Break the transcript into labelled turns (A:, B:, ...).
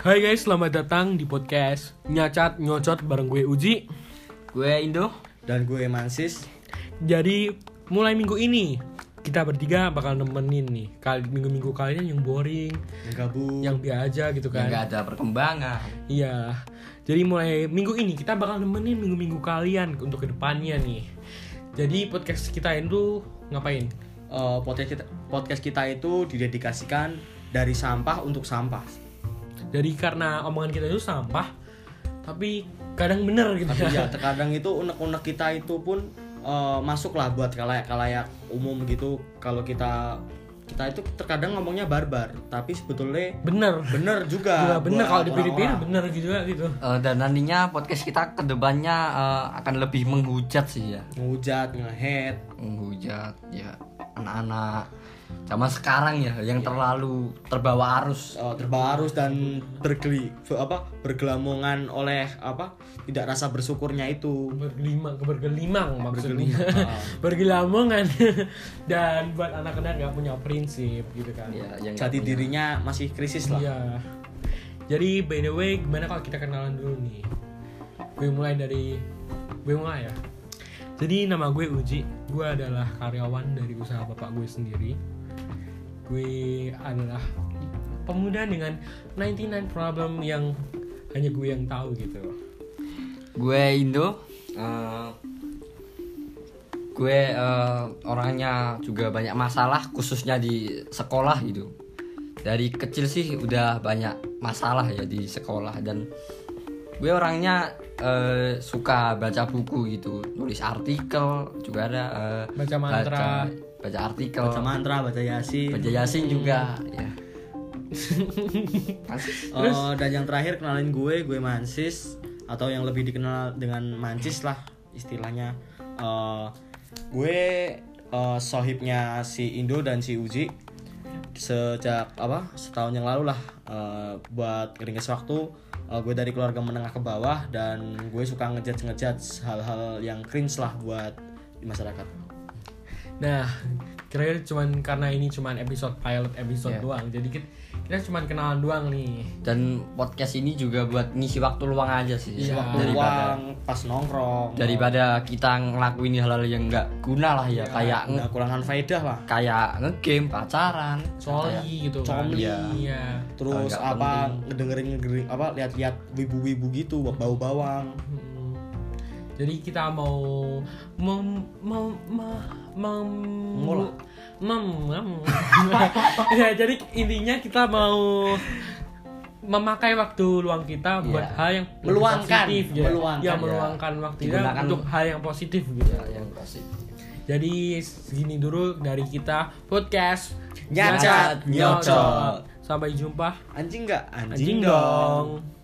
A: Hai guys, selamat datang di podcast Nyacat Nyocot bareng gue Uji.
B: Gue Indo.
C: dan gue Mansis
A: Jadi mulai minggu ini kita bertiga bakal nemenin nih kali minggu-minggu kalian yang boring,
C: yang gabung
A: yang biasa aja gitu
B: Yang
A: kan.
B: gak ada perkembangan.
A: Iya. Jadi mulai minggu ini kita bakal nemenin minggu-minggu kalian untuk kedepannya nih. Jadi podcast kita itu ngapain?
C: Eh, podcast kita, podcast kita itu didedikasikan dari sampah untuk sampah
A: Jadi karena omongan kita itu sampah, tapi kadang bener gitu
C: tapi
A: ya.
C: ya terkadang itu unek-unek kita itu pun eh, masuklah buat kalayak-kalayak umum gitu kalau kita kita itu terkadang ngomongnya barbar tapi sebetulnya
A: Bener.
C: bener
A: Iya,
C: juga
A: bener
C: buat
A: kalau dipilih-pilih
C: orang-orang.
A: bener gitu ya gitu.
B: Eh, dan nantinya podcast kita kedepannya eh, akan lebih menghujat sih ya.
C: ngehujat ngehead
B: Menghujat ya anak-anak zaman sekarang ya
C: Iya.
B: yang terlalu terbawa arus.
C: eh, terbawa arus dan bergeli apa bergelamongan oleh apa tidak rasa bersyukurnya itu
A: bergelimang bergelimang maksudnya
C: Bergelimang.
A: bergelamongan dan buat anak-anak nggak punya prinsip gitu kan
B: Ya, yang
C: jati dirinya masih krisis lah
A: iya jadi by the way gimana kalau kita kenalan dulu nih gue mulai dari gue mulai ya jadi nama gue Uji gue adalah karyawan dari usaha bapak gue sendiri gue adalah pemuda dengan 99 problem yang hanya gue yang tahu gitu
B: Gue Indo. Eh, gue eh, orangnya juga banyak masalah khususnya di sekolah gitu. Dari kecil sih udah banyak masalah ya di sekolah dan gue orangnya eh, suka baca buku gitu, nulis artikel juga ada eh,
A: Baca mantra.
B: baca, baca artikel,
C: baca mantra baca yasin
B: baca yasin juga ya.
C: Eh, dan yang terakhir kenalin gue gue mansis atau yang lebih dikenal dengan mancis lah istilahnya Eh, gue eh, sohibnya si Indo dan si Uji sejak apa setahun yang lalu lah eh, buat ringkes waktu eh, gue dari keluarga menengah ke bawah dan gue suka ngejudge ngejudge hal-hal yang cringe lah buat di masyarakat
A: Nah, kira-kira cuman karena ini cuman episode pilot episode
B: Iya.
A: doang. Jadi kita, kita cuman kenalan doang nih.
B: Dan podcast ini juga buat ngisi waktu luang aja sih.
A: Iya.
B: ya.
C: waktu
B: Daripada-
C: luang pas nongkrong
B: daripada kita ngelakuin hal-hal yang nggak guna lah ya, kayak nge-
C: nggak kurangan faedah lah
B: kayak ngegame pacaran
A: Coli
B: kayak-
A: gitu kan.
C: Coli.
A: Iya.
C: terus
B: Agak
C: apa ngedengerin ngedengerin apa lihat-lihat wibu-wibu gitu bau bawang
A: Mm. Jadi kita mau mem mem mem mem
C: Mengolah.
A: mem, mem. ya, jadi intinya kita mau memakai waktu luang kita buat
B: Iya.
A: hal yang lebih
C: Meluangkan,
A: positif, ya.
C: meluangkan,
A: ya
C: ya.
A: meluangkan waktu kita
B: Digunakan-
A: untuk hal yang positif gitu.
B: Ya, yang positif.
A: Jadi segini dulu dari kita podcast
C: Nyacat, nyocot.
A: Sampai jumpa.
C: anjing nggak anjing,
A: Anjing
C: dong.
A: dong.